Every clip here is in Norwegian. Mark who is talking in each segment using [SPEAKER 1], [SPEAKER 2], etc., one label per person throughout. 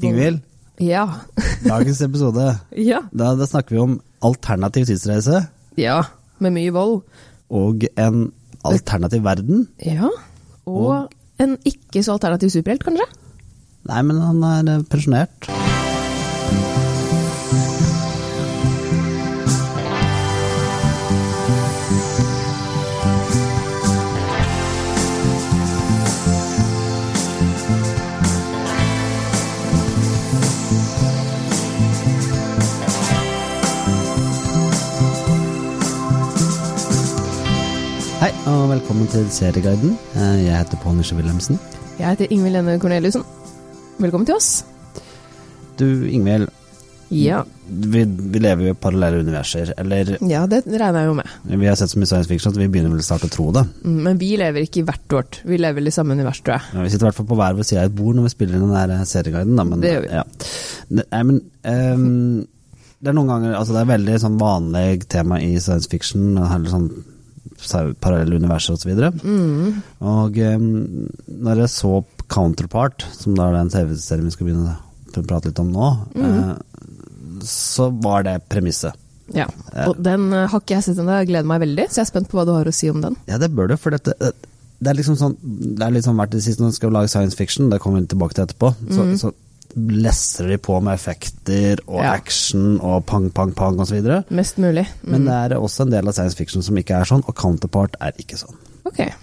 [SPEAKER 1] Ingvild,
[SPEAKER 2] Ja.
[SPEAKER 1] dagens episode.
[SPEAKER 2] ja.
[SPEAKER 1] Da, da snakker vi om alternativ tidsreise
[SPEAKER 2] Ja. Med mye vold.
[SPEAKER 1] og en alternativ verden.
[SPEAKER 2] Ja. Og,
[SPEAKER 1] Og-
[SPEAKER 2] en ikke så alternativ superhelt, kanskje?
[SPEAKER 1] Nei, men han er eh, pensjonert. Hei, og velkommen til Serieguiden. Eh, Jeg heter Pål Nisje Wilhelmsen.
[SPEAKER 2] Jeg heter Ingvild Lene Corneliussen. Velkommen til oss.
[SPEAKER 1] Du, Ingvild,
[SPEAKER 2] Ja.
[SPEAKER 1] vi, vi lever jo i parallelle universer, eller
[SPEAKER 2] ja, det regner jeg jo med.
[SPEAKER 1] vi har sett så mye science fiction at vi begynner vel snart å tro det.
[SPEAKER 2] Mm, Men vi lever ikke i hvert vårt. Vi lever i samme univers, tror jeg.
[SPEAKER 1] Men Vi sitter i hvert fall på hver vår side av et bord når vi spiller inn den der serieguiden, da, men
[SPEAKER 2] Det gjør vi.
[SPEAKER 1] Ja. Ne- Nei, men ehm, det er noen ganger Altså, det er veldig sånn vanlig tema i science fiction, eller sånn sa- parallelle universer osv. Og, så
[SPEAKER 2] Mm.
[SPEAKER 1] videre. og ehm, når jeg så Counterpart, som da er den TV-serien vi skal begynne å prate litt om nå,
[SPEAKER 2] Mm.
[SPEAKER 1] eh, så var det premisset.
[SPEAKER 2] Ja. Og den eh, har ikke jeg sett ennå. Jeg gleder meg veldig, så jeg er spent på hva du har å si om den.
[SPEAKER 1] Ja, det bør du, for dette Det er liksom sånn Det er litt sånn hvert det siste når du skal lage science fiction, det kommer vi tilbake til etterpå, så, så lesser de på med effekter og
[SPEAKER 2] Mhm. Ja.
[SPEAKER 1] action og pang, pang, pang osv. videre
[SPEAKER 2] Mest mulig. Mm.
[SPEAKER 1] Men det er også en del av science fiction som ikke er sånn, og counterpart er ikke sånn.
[SPEAKER 2] Ok.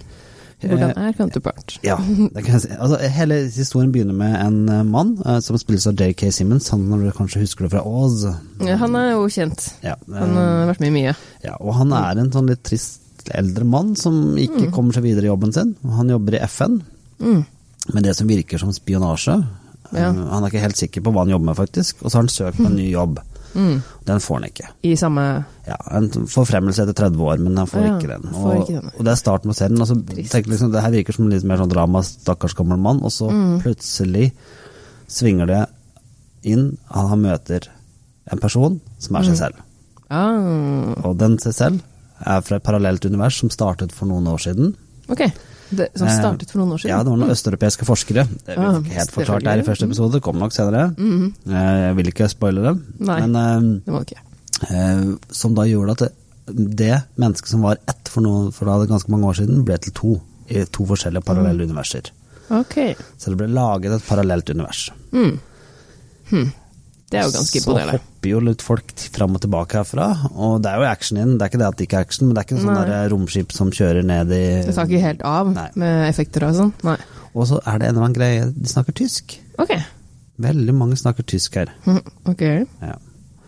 [SPEAKER 2] Hvordan er counterpart?
[SPEAKER 1] Eh, Ja, det kan jeg si. Altså, hele historien begynner med en eh, mann eh, som spilles av JK Simmons, han når du kanskje husker det fra Oz.
[SPEAKER 2] Ja, han er jo kjent.
[SPEAKER 1] Ja,
[SPEAKER 2] Han eh, har vært med i mye.
[SPEAKER 1] Ja, og han er en sånn litt trist eldre mann som
[SPEAKER 2] Mhm.
[SPEAKER 1] ikke kommer seg videre i jobben sin. Han jobber i FN
[SPEAKER 2] Mm.
[SPEAKER 1] med det som virker som spionasje.
[SPEAKER 2] Ja.
[SPEAKER 1] Eh, Han er ikke helt sikker på hva han jobber med, faktisk. Og så har han søkt på en ny jobb. Den får han ikke.
[SPEAKER 2] Mm. I samme
[SPEAKER 1] Ja, En forfremmelse etter 30 år, men han får
[SPEAKER 2] Ja,
[SPEAKER 1] ikke den.
[SPEAKER 2] får
[SPEAKER 1] Og,
[SPEAKER 2] ikke den.
[SPEAKER 1] og det er starten på serien. Altså, tenk liksom, det her virker som litt mer sånn drama, stakkars gammel mann, og så
[SPEAKER 2] Mm.
[SPEAKER 1] plutselig svinger det inn. Han han møter en person som
[SPEAKER 2] Mm.
[SPEAKER 1] er seg selv.
[SPEAKER 2] ah,
[SPEAKER 1] Og den seg selv er fra et parallelt univers som startet for noen år siden.
[SPEAKER 2] Ok. Det, som
[SPEAKER 1] Eh,
[SPEAKER 2] startet for noen år siden?
[SPEAKER 1] Ja, det var noen østeuropeiske forskere. Det ble
[SPEAKER 2] Ah, Mhm.
[SPEAKER 1] ikke helt forklart der i første episode, det kom nok senere. Eh, Jeg vil ikke spoile det.
[SPEAKER 2] Nei.
[SPEAKER 1] Men
[SPEAKER 2] Det må du ikke.
[SPEAKER 1] eh, eh, som da gjorde at det, det mennesket som var ett for, noen, for da ganske mange år siden, ble til to. I to forskjellige parallelle
[SPEAKER 2] Mhm.
[SPEAKER 1] universer.
[SPEAKER 2] Ok.
[SPEAKER 1] Så det ble laget et parallelt univers.
[SPEAKER 2] Mm. Hm. Det er jo ganske
[SPEAKER 1] Så
[SPEAKER 2] imponerende.
[SPEAKER 1] hopper jo litt folk t- fram og tilbake herfra, og det er jo action inn. Det er ikke det at det ikke er action, men det er ikke noe sånn der romskip som kjører ned i
[SPEAKER 2] Det tar ikke helt av
[SPEAKER 1] Nei.
[SPEAKER 2] med effekter og sånn? Nei.
[SPEAKER 1] Og så er det en eller annen greie, de snakker tysk.
[SPEAKER 2] Ok.
[SPEAKER 1] Veldig mange snakker tysk her.
[SPEAKER 2] Mhm, Ok.
[SPEAKER 1] Ja.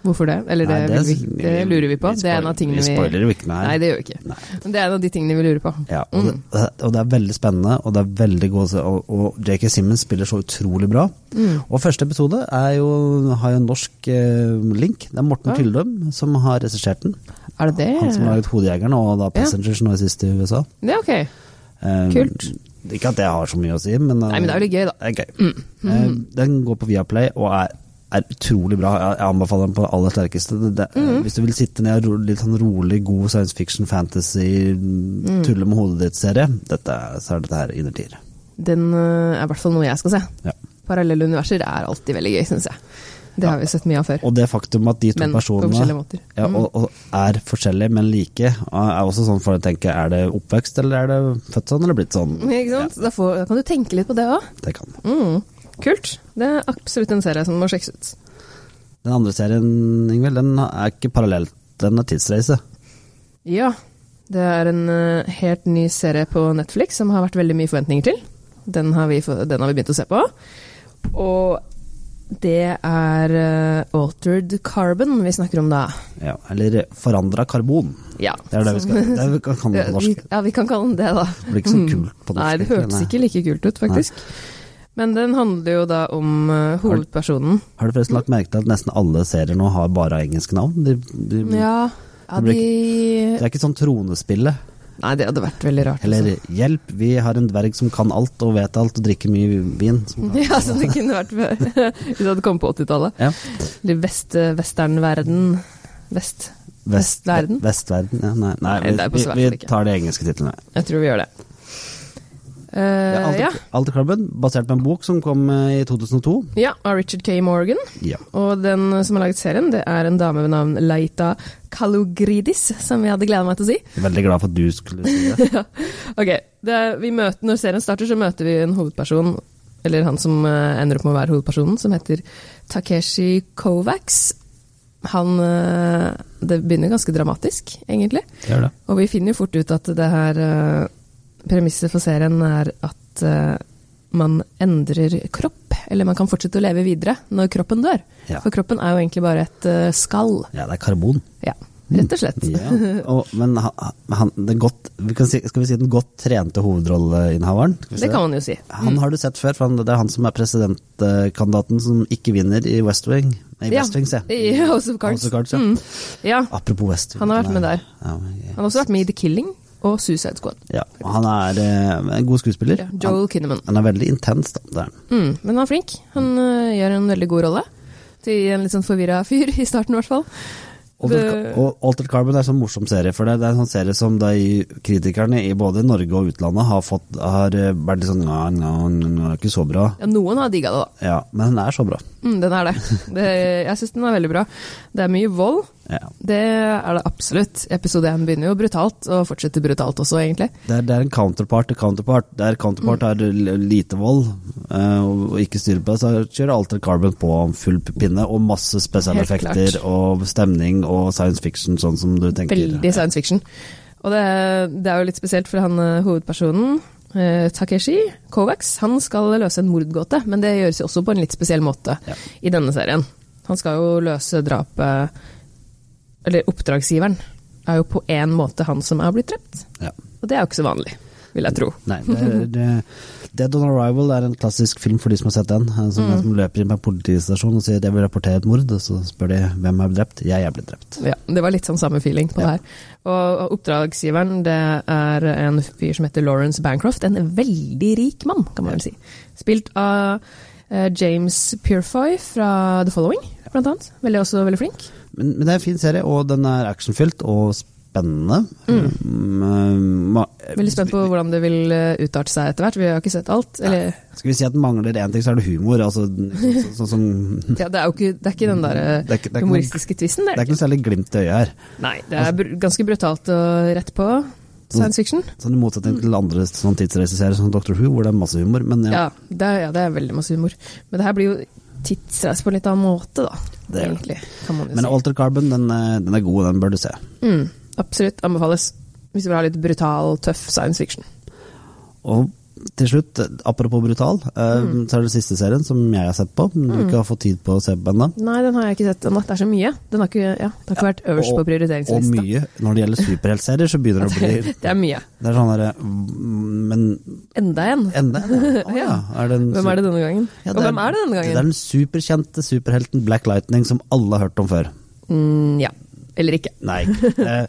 [SPEAKER 2] Hvorfor det? Eller det,
[SPEAKER 1] Nei,
[SPEAKER 2] vil vi, det lurer vi
[SPEAKER 1] vi
[SPEAKER 2] på. det er en av
[SPEAKER 1] spoiler-
[SPEAKER 2] tingene
[SPEAKER 1] vi spoiler jo ikke, nei.
[SPEAKER 2] Nei, det gjør vi ikke.
[SPEAKER 1] Nei.
[SPEAKER 2] Men det er en av de tingene vi lurer på. Mm.
[SPEAKER 1] Ja, og, det, og det er veldig spennende, og det er veldig god Og, og J.K. Simmons spiller så utrolig bra. Og første episode er jo, har jo en norsk eh, link. Det er Morten Tyldum som har regissert den.
[SPEAKER 2] Er det det?
[SPEAKER 1] Han som har laget 'Hodejegeren' og da 'Passengers' nå sist i USA.
[SPEAKER 2] Det er ok.
[SPEAKER 1] Eh,
[SPEAKER 2] Kult.
[SPEAKER 1] Ikke at det har så mye å si, men
[SPEAKER 2] Nei, men det er jo litt gøy, da. Mm.
[SPEAKER 1] Det er gøy. Eh, Den går på Viaplay og er, er utrolig bra. Jeg- Jeg anbefaler den på aller sterkeste. Det, det,
[SPEAKER 2] Mm.
[SPEAKER 1] Hvis du vil sitte ned og ro, litt sånn rolig, god science fiction, fantasy,
[SPEAKER 2] Mm.
[SPEAKER 1] tulle med hodet ditt-serie, dette er- så er dette her innertier.
[SPEAKER 2] Den øh, er i hvert fall noe jeg skal se.
[SPEAKER 1] Ja.
[SPEAKER 2] Parallelle universer er alltid veldig gøy, syns jeg. Det har vi sett mye av før.
[SPEAKER 1] Og det faktum at de to
[SPEAKER 2] Men på forskjellige
[SPEAKER 1] personene
[SPEAKER 2] måter. Mm.
[SPEAKER 1] ja, og, og er forskjellige, men like, er også sånn for å tenke er det oppvekst, eller er det født sånn, eller blitt sånn?
[SPEAKER 2] Ikke sant? Da, får, da kan du tenke litt på det òg.
[SPEAKER 1] Det kan.
[SPEAKER 2] Mm. Kult. Det er absolutt en serie som må sjekkes ut.
[SPEAKER 1] Den andre serien, Ingvild, den er ikke parallell, den er tidsreise.
[SPEAKER 2] Ja. Det er en eh, helt ny serie på Netflix som har vært veldig mye forventninger til. Den har vi, få- den har vi begynt å se på. Og det er eh, Altered Carbon vi snakker om da.
[SPEAKER 1] Ja, eller forandra karbon.
[SPEAKER 2] Ja.
[SPEAKER 1] Det er det vi skal det er, vi kan kalle det på norsk.
[SPEAKER 2] Ja, Eh, vi kan kalle den det, da.
[SPEAKER 1] Det blir ikke så kult på norsk.
[SPEAKER 2] Mm. Nei, det hørtes
[SPEAKER 1] egentlig,
[SPEAKER 2] ikke like kult ut, faktisk. Men den handler jo da om eh, hovedpersonen.
[SPEAKER 1] nei. Har du forresten lagt merke til at nesten alle serier nå har bare engelske navn? De, de,
[SPEAKER 2] Ja, ja
[SPEAKER 1] Det blir
[SPEAKER 2] de
[SPEAKER 1] Det er ikke sånn tronespillet.
[SPEAKER 2] Nei, det hadde vært veldig rart.
[SPEAKER 1] Eller 'Hjelp, vi har en dverg som kan alt og vet alt og drikker mye vin'. Som,
[SPEAKER 2] altså. Ja, som det kunne vært før. Hvis det hadde kommet på 80-tallet.
[SPEAKER 1] ja.
[SPEAKER 2] Eller vest, eh, westernverden. Vest.
[SPEAKER 1] Vest-
[SPEAKER 2] Vestverden?
[SPEAKER 1] Vestverden, ja. Nei, nei
[SPEAKER 2] Nei, det er på
[SPEAKER 1] vi,
[SPEAKER 2] svært
[SPEAKER 1] vi, vi
[SPEAKER 2] ikke.
[SPEAKER 1] tar de engelske titlene.
[SPEAKER 2] Jeg tror vi gjør det.
[SPEAKER 1] Det er
[SPEAKER 2] Eh, ja.
[SPEAKER 1] Alter, Alterklubben, basert på en bok som kom eh, i 2002.
[SPEAKER 2] ja, av Richard K. Morgan.
[SPEAKER 1] Ja.
[SPEAKER 2] Og den eh, som har laget serien, det er en dame ved navn Leita Kalogridis, som jeg hadde gleda meg til å si.
[SPEAKER 1] Veldig glad for at du skulle si det.
[SPEAKER 2] Ok, det er, vi møter, Når serien starter, så møter vi en hovedperson, eller han som eh, ender opp med å være hovedpersonen, som heter Takeshi Kovacs. Han eh, Det begynner ganske dramatisk, egentlig.
[SPEAKER 1] Gjør det.
[SPEAKER 2] Og vi finner jo fort ut at det her eh, Premisset for serien er at eh, man endrer kropp. Eller man kan fortsette å leve videre når kroppen dør.
[SPEAKER 1] Ja.
[SPEAKER 2] For kroppen er jo egentlig bare et eh, skall.
[SPEAKER 1] Ja, det er karbon.
[SPEAKER 2] Ja, rett og slett.
[SPEAKER 1] Mm. Ja. Og, men han, han, den godt, vi kan si, skal vi si den godt trente hovedrolleinnehaveren? Skal vi si
[SPEAKER 2] Det kan man jo si.
[SPEAKER 1] Han har du sett før, for han, det er han som er presidentkandidaten som ikke vinner i West Wing. Nei, West Wing, se.
[SPEAKER 2] I House of Cards.
[SPEAKER 1] House of Cards, ja. Ah.
[SPEAKER 2] Mm. ja.
[SPEAKER 1] Apropos West Wing.
[SPEAKER 2] Han har vært med
[SPEAKER 1] er-
[SPEAKER 2] der. Han har også vært med i The Killing og Suicide Squad.
[SPEAKER 1] Ja, og han er eh, en god skuespiller.
[SPEAKER 2] Ja, Joel Kinnaman.
[SPEAKER 1] Han, han er veldig intens, da. Det er han.
[SPEAKER 2] Mm, men han er flink. Han øh, gjør en veldig god rolle. Til en litt sånn forvirra fyr, i starten i hvert fall.
[SPEAKER 1] Altered,
[SPEAKER 2] Det-
[SPEAKER 1] og Altered Carbon er en sånn morsom serie, for det, det er en sånn serie som de kritikerne i både Norge og utlandet har, fått, har eh, vært litt sånn Nå, nå, nå, nå, ikke så bra.
[SPEAKER 2] Ja, noen har digga det, da.
[SPEAKER 1] Ja, men den er så bra.
[SPEAKER 2] Mm, den er det. det jeg syns den er veldig bra. Det er mye vold.
[SPEAKER 1] Ja.
[SPEAKER 2] Det er det absolutt. Episode 1 begynner jo brutalt, og fortsetter brutalt også, egentlig.
[SPEAKER 1] Det er, det er en counterpart til counterpart. Der counterpart
[SPEAKER 2] Mm.
[SPEAKER 1] har l- lite vold eh, og og ikke styr på det, så kjører Alter Carbon på full pinne og masse spesialeffekter
[SPEAKER 2] Helt klart.
[SPEAKER 1] og stemning og science fiction, sånn som du tenker.
[SPEAKER 2] Veldig science fiction. Og det, det er jo litt spesielt for han eh, hovedpersonen, eh, Takeshi Kovacs. Han skal løse en mordgåte, men det gjøres jo også på en litt spesiell måte
[SPEAKER 1] Ja.
[SPEAKER 2] i denne serien. Han skal jo løse drapet Eller oppdragsgiveren er jo på én måte han som er blitt drept.
[SPEAKER 1] Ja.
[SPEAKER 2] Og det er jo ikke så vanlig, vil jeg tro.
[SPEAKER 1] Nei, det, er- det, Dead on Arrival er en klassisk film for de som har sett den. eh,
[SPEAKER 2] Mm.
[SPEAKER 1] Som en som løper inn på en politistasjon og sier 'jeg vil rapportere et mord', og så spør de 'hvem er drept'? 'Jeg er blitt drept'.
[SPEAKER 2] Ja, det var litt sånn samme feeling på
[SPEAKER 1] Ja.
[SPEAKER 2] det her. Og og oppdragsgiveren, det er en fyr som heter Lawrence Bancroft. En veldig rik mann, kan man vel si. Spilt av eh, James Purefoy fra The Following, blant annet. Veldig, også veldig flink.
[SPEAKER 1] Men, men det er en fin serie, og den er actionfylt og spennende. Mm, ma-
[SPEAKER 2] Veldig spent på hvordan det vil eh, utarte seg etter hvert. Vi har ikke sett alt. Eller,
[SPEAKER 1] Skal vi si at den mangler én ting, så er det humor. Altså, sånn så, som
[SPEAKER 2] ja, det er jo ikke, det er ikke den der eh,
[SPEAKER 1] Det er ikke- det er ikke noen-
[SPEAKER 2] humoristiske twisten
[SPEAKER 1] Det er
[SPEAKER 2] der.
[SPEAKER 1] ikke Altså- noe særlig glimt i øyet her.
[SPEAKER 2] Nei, det er br ganske brutalt og rett på science fiction.
[SPEAKER 1] Sånn I motsetning til andre sånn tidsreiseserier som Doctor Who, hvor det er masse humor. Men ja,
[SPEAKER 2] Ja, det er, ja, det er veldig masse humor. Men det her blir jo tidsreise på en litt annen måte, da.
[SPEAKER 1] Det er det.
[SPEAKER 2] egentlig, kan man jo
[SPEAKER 1] men
[SPEAKER 2] si.
[SPEAKER 1] Alter Carbon, den, eh, den er god, den bør du se.
[SPEAKER 2] Mm, absolutt anbefales. Hvis du vil ha litt brutal, tøff science fiction.
[SPEAKER 1] Og til slutt, apropos brutal, eh, så er det siste serien som jeg har sett på, men du ikke har fått tid på å se på ennå.
[SPEAKER 2] Nei, den har jeg ikke sett ennå. Det er så mye. Den har ikke, ja, det har ikke vært øverst
[SPEAKER 1] Og-
[SPEAKER 2] på prioriteringslista.
[SPEAKER 1] Og mye. Når det gjelder superheltserier, så begynner det å bli
[SPEAKER 2] Det er mye.
[SPEAKER 1] Det er sånn derre mm, Men
[SPEAKER 2] Enda en.
[SPEAKER 1] enda en? ja. Å ja. Er det en
[SPEAKER 2] Hvem er det denne gangen?
[SPEAKER 1] Ja,
[SPEAKER 2] Og hvem er det denne
[SPEAKER 1] Det er
[SPEAKER 2] gangen?
[SPEAKER 1] den superkjente superhelten Black Lightning som alle har hørt om før.
[SPEAKER 2] Mm, ja. Eller ikke.
[SPEAKER 1] Nei. Eh,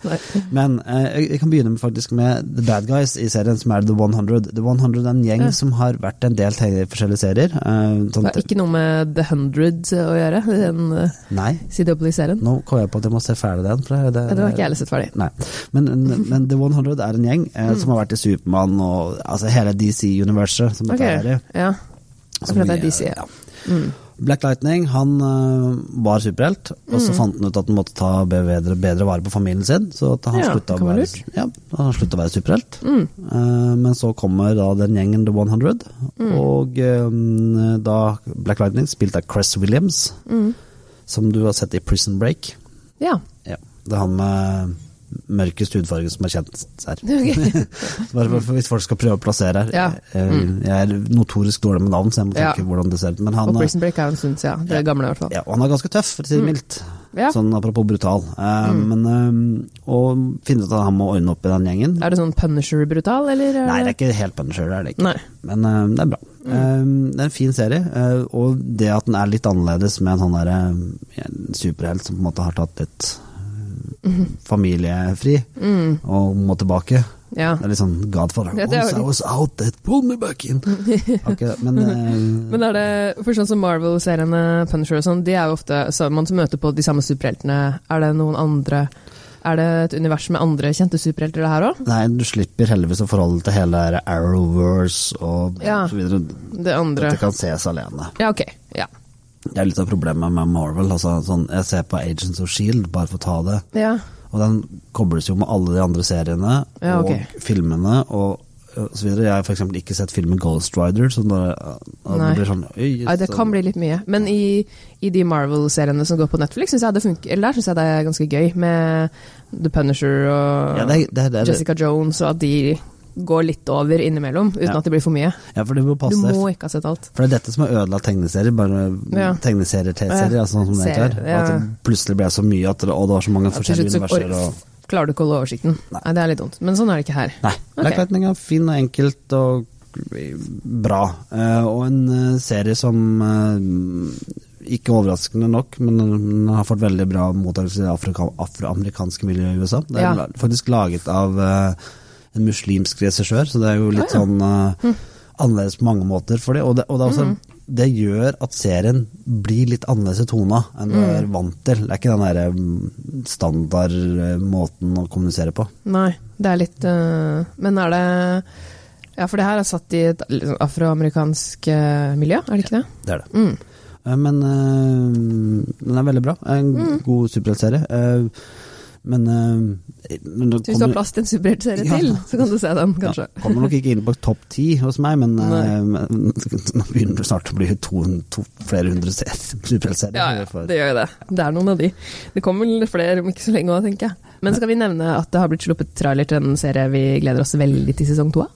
[SPEAKER 1] Men eh, jeg- jeg kan begynne med, faktisk med The Bad Guys i serien som er The 100. The 100 er en gjeng
[SPEAKER 2] Ja.
[SPEAKER 1] som har vært en del til i forskjellige serier. Eh,
[SPEAKER 2] Det
[SPEAKER 1] sånn,
[SPEAKER 2] har ikke noe med The Hundred å gjøre, den uh,
[SPEAKER 1] nei,
[SPEAKER 2] CW-serien.
[SPEAKER 1] nå kom jeg på at jeg må se ferdig den. For det,
[SPEAKER 2] Ja, den har ikke jeg heller sett ferdig.
[SPEAKER 1] Nei. Men, men, men The 100 er en gjeng
[SPEAKER 2] Mm.
[SPEAKER 1] eh, som har vært i Supermann og altså, hele DC-universet. som
[SPEAKER 2] Ok,
[SPEAKER 1] dette er i.
[SPEAKER 2] ja. Mm.
[SPEAKER 1] Som
[SPEAKER 2] Akkurat det
[SPEAKER 1] vi-
[SPEAKER 2] er DC, ja.
[SPEAKER 1] Black Lightning han eh, var superhelt, og
[SPEAKER 2] Mm.
[SPEAKER 1] så fant han ut at han måtte ta bedre, bedre vare på familien sin. Så at han
[SPEAKER 2] Ja,
[SPEAKER 1] slutta
[SPEAKER 2] det
[SPEAKER 1] å
[SPEAKER 2] kan være
[SPEAKER 1] være,
[SPEAKER 2] lurt. Mm.
[SPEAKER 1] ja, han slutta å være superhelt. Eh, men så kommer da den gjengen The 100,
[SPEAKER 2] Mm.
[SPEAKER 1] og eh, da Black Lightning spilt av Cress Williams,
[SPEAKER 2] Mm.
[SPEAKER 1] som du har sett i Prison Break.
[SPEAKER 2] Ja.
[SPEAKER 1] Ja, det er han med mørkest hudfarge som er kjent her.
[SPEAKER 2] Ok.
[SPEAKER 1] Bare for, for hvis folk skal prøve å plassere her.
[SPEAKER 2] Ja. Mm.
[SPEAKER 1] Eh, Jeg er notorisk dårlig med navn, så jeg må
[SPEAKER 2] Ja.
[SPEAKER 1] tenke hvordan det ser ut. Men han,
[SPEAKER 2] Og
[SPEAKER 1] eh,
[SPEAKER 2] Prison Break er jo en stund siden. Det er gamle, i hvert fall.
[SPEAKER 1] ja, og han er ganske tøff, for å si det mildt.
[SPEAKER 2] Mm. Ja. Mm.
[SPEAKER 1] Sånn apropos brutal. Eh, Men eh, å finne ut at han må ordne opp i den gjengen
[SPEAKER 2] Er det sånn Punisher-brutal, eller? er
[SPEAKER 1] Nei, det er ikke helt Punisher, det er det ikke.
[SPEAKER 2] Nei.
[SPEAKER 1] Men eh, det er bra.
[SPEAKER 2] Mm.
[SPEAKER 1] Eh, det er en fin serie, eh, og det at den er litt annerledes med en sånn derre eh, en superhelt som på en måte har tatt litt eh,
[SPEAKER 2] Mm-hmm.
[SPEAKER 1] familiefri og må tilbake.
[SPEAKER 2] Ja.
[SPEAKER 1] Det er litt sånn Godfather.
[SPEAKER 2] Mm. Ja, det er
[SPEAKER 1] Once
[SPEAKER 2] jo-
[SPEAKER 1] I was out, they pulled me back in. Har ikke det, men eh,
[SPEAKER 2] Men er det, for sånn som Marvel-seriene, Punisher og sånn, de er jo ofte så man møter på de samme superheltene. Er det noen andre Er det et univers med andre kjente superhelter, det her òg?
[SPEAKER 1] Nei, du slipper heldigvis å forholde til hele der Arrowverse og
[SPEAKER 2] Ja.
[SPEAKER 1] så videre.
[SPEAKER 2] Det andre
[SPEAKER 1] Dette kan ses alene.
[SPEAKER 2] Ja, ok. Ja.
[SPEAKER 1] Det er litt av problemet med Marvel. Altså, sånn, jeg ser på Agents of Shield, E bare for å ta det.
[SPEAKER 2] ja.
[SPEAKER 1] Og den kobles jo med alle de andre seriene
[SPEAKER 2] Ja, ok.
[SPEAKER 1] og filmene og, og så videre. Jeg har f.eks. ikke sett filmen Ghost Rider, så da, da
[SPEAKER 2] Nei.
[SPEAKER 1] blir det sånn Oi,
[SPEAKER 2] Nei, det kan bli litt mye. Men i, i de Marvel-seriene som går på Netflix, synes jeg det funker, eller der syns jeg det er ganske gøy med The Punisher og
[SPEAKER 1] ja, det, er- det, er- det, er-
[SPEAKER 2] Jessica Jones, og at de går litt over innimellom, uten
[SPEAKER 1] Ja.
[SPEAKER 2] at det blir for mye.
[SPEAKER 1] ja, for det må
[SPEAKER 2] Du
[SPEAKER 1] passe.
[SPEAKER 2] må ikke ha sett alt.
[SPEAKER 1] For det er dette som har ødelagt tegneserier. Bare
[SPEAKER 2] Ja.
[SPEAKER 1] tegneserier, T-serier,
[SPEAKER 2] Ja.
[SPEAKER 1] altså, sånn som det
[SPEAKER 2] Serier,
[SPEAKER 1] heter. At
[SPEAKER 2] ja.
[SPEAKER 1] det plutselig ble så mye at det, og det var så mange
[SPEAKER 2] Ja, til
[SPEAKER 1] forskjellige
[SPEAKER 2] slutt så
[SPEAKER 1] universer.
[SPEAKER 2] ork-
[SPEAKER 1] Og,
[SPEAKER 2] Klarer du ikke å holde oversikten?
[SPEAKER 1] Nei.
[SPEAKER 2] Nei. det er litt dumt. Men sånn er det ikke her.
[SPEAKER 1] nei.
[SPEAKER 2] Ok.
[SPEAKER 1] Blacklightning er fin og enkelt og bra. Eh, og en eh, serie som eh, ikke overraskende nok, men den har fått veldig bra mottakelse i det afrika, afroamerikanske miljøet i USA. Det er
[SPEAKER 2] Ja.
[SPEAKER 1] la- faktisk laget av eh, en muslimsk regissør, så det er jo litt sånn
[SPEAKER 2] Hm.
[SPEAKER 1] eh, annerledes på mange måter for det. Og det, og det, er også,
[SPEAKER 2] Mhm.
[SPEAKER 1] det gjør at serien blir litt annerledes i tona enn
[SPEAKER 2] Mhm.
[SPEAKER 1] du er vant til. Det er ikke den derre mm, standard eh, måten å kommunisere på.
[SPEAKER 2] Nei, det er litt øh, Men er det Ja, for det her er satt i et liksom, afroamerikansk øh, miljø, er det ikke det?
[SPEAKER 1] Det er det.
[SPEAKER 2] Mm.
[SPEAKER 1] Eh, Men eh, den er veldig bra. En
[SPEAKER 2] Mm.
[SPEAKER 1] god superheltserie. Eh, men eh, men det
[SPEAKER 2] Så hvis du har
[SPEAKER 1] kommer-
[SPEAKER 2] plass til en superheltserie
[SPEAKER 1] Ja.
[SPEAKER 2] til, så kan du se den, kanskje.
[SPEAKER 1] ja, kommer nok ikke inn på topp ti hos meg, men, eh,
[SPEAKER 2] Nei.
[SPEAKER 1] men nå begynner det snart å bli to, to, flere hundre serier- superheltserier.
[SPEAKER 2] Ja, ja, det gjør jo det. Det er noen av de. Det kommer vel flere om ikke så lenge òg, tenker jeg. Men skal vi nevne at det har blitt sluppet trailer til en serie vi gleder oss veldig til sesong to av?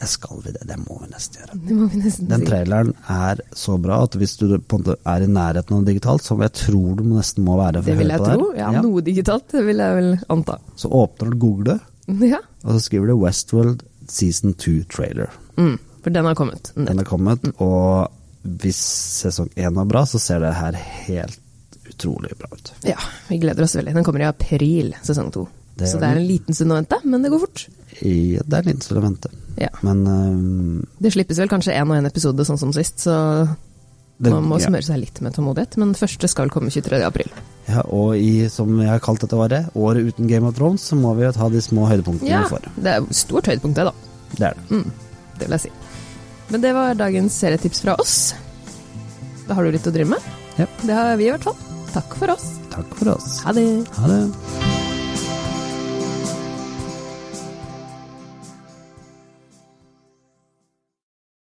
[SPEAKER 1] Jeg skal vi det, det må vi nesten gjøre.
[SPEAKER 2] Det må vi nesten
[SPEAKER 1] Den
[SPEAKER 2] si.
[SPEAKER 1] traileren er så bra at hvis du på en måte er i nærheten av det digitalt, som jeg tror du nesten må være for
[SPEAKER 2] Det
[SPEAKER 1] å
[SPEAKER 2] vil
[SPEAKER 1] høre
[SPEAKER 2] jeg
[SPEAKER 1] på
[SPEAKER 2] tro.
[SPEAKER 1] det
[SPEAKER 2] Ja,
[SPEAKER 1] her, ja,
[SPEAKER 2] noe digitalt, det vil jeg vel anta.
[SPEAKER 1] så åpner du Google,
[SPEAKER 2] Ja.
[SPEAKER 1] og så skriver du Westworld Season 2 Trailer.
[SPEAKER 2] Mm, for den har kommet.
[SPEAKER 1] Den er kommet, og hvis sesong 1 er bra, så ser det her helt utrolig bra ut.
[SPEAKER 2] Ja, vi gleder oss veldig. Den kommer i april, sesong to.
[SPEAKER 1] Det
[SPEAKER 2] Så
[SPEAKER 1] gjør
[SPEAKER 2] det er
[SPEAKER 1] den.
[SPEAKER 2] en liten stund å vente, men det går fort.
[SPEAKER 1] I, det er litt til å vente.
[SPEAKER 2] Ja.
[SPEAKER 1] Men eh, øhm,
[SPEAKER 2] Det slippes vel kanskje én og én episode, sånn som sist, så
[SPEAKER 1] det,
[SPEAKER 2] man må
[SPEAKER 1] ja.
[SPEAKER 2] smøre seg litt med tålmodighet. Men den første skal komme 23. april.
[SPEAKER 1] Ja, og i, som jeg har kalt dette året, året uten Game of Thrones, så må vi jo ta de små høydepunktene
[SPEAKER 2] Ja,
[SPEAKER 1] vi får.
[SPEAKER 2] det er stort høydepunkt, det, da.
[SPEAKER 1] Det er det.
[SPEAKER 2] Det vil jeg si. Men det var dagens serietips fra oss. Da har du litt å drive med.
[SPEAKER 1] Ja.
[SPEAKER 2] Det har vi i hvert fall. Takk for oss.
[SPEAKER 1] Takk for oss.
[SPEAKER 2] Ha det.
[SPEAKER 1] Ha det.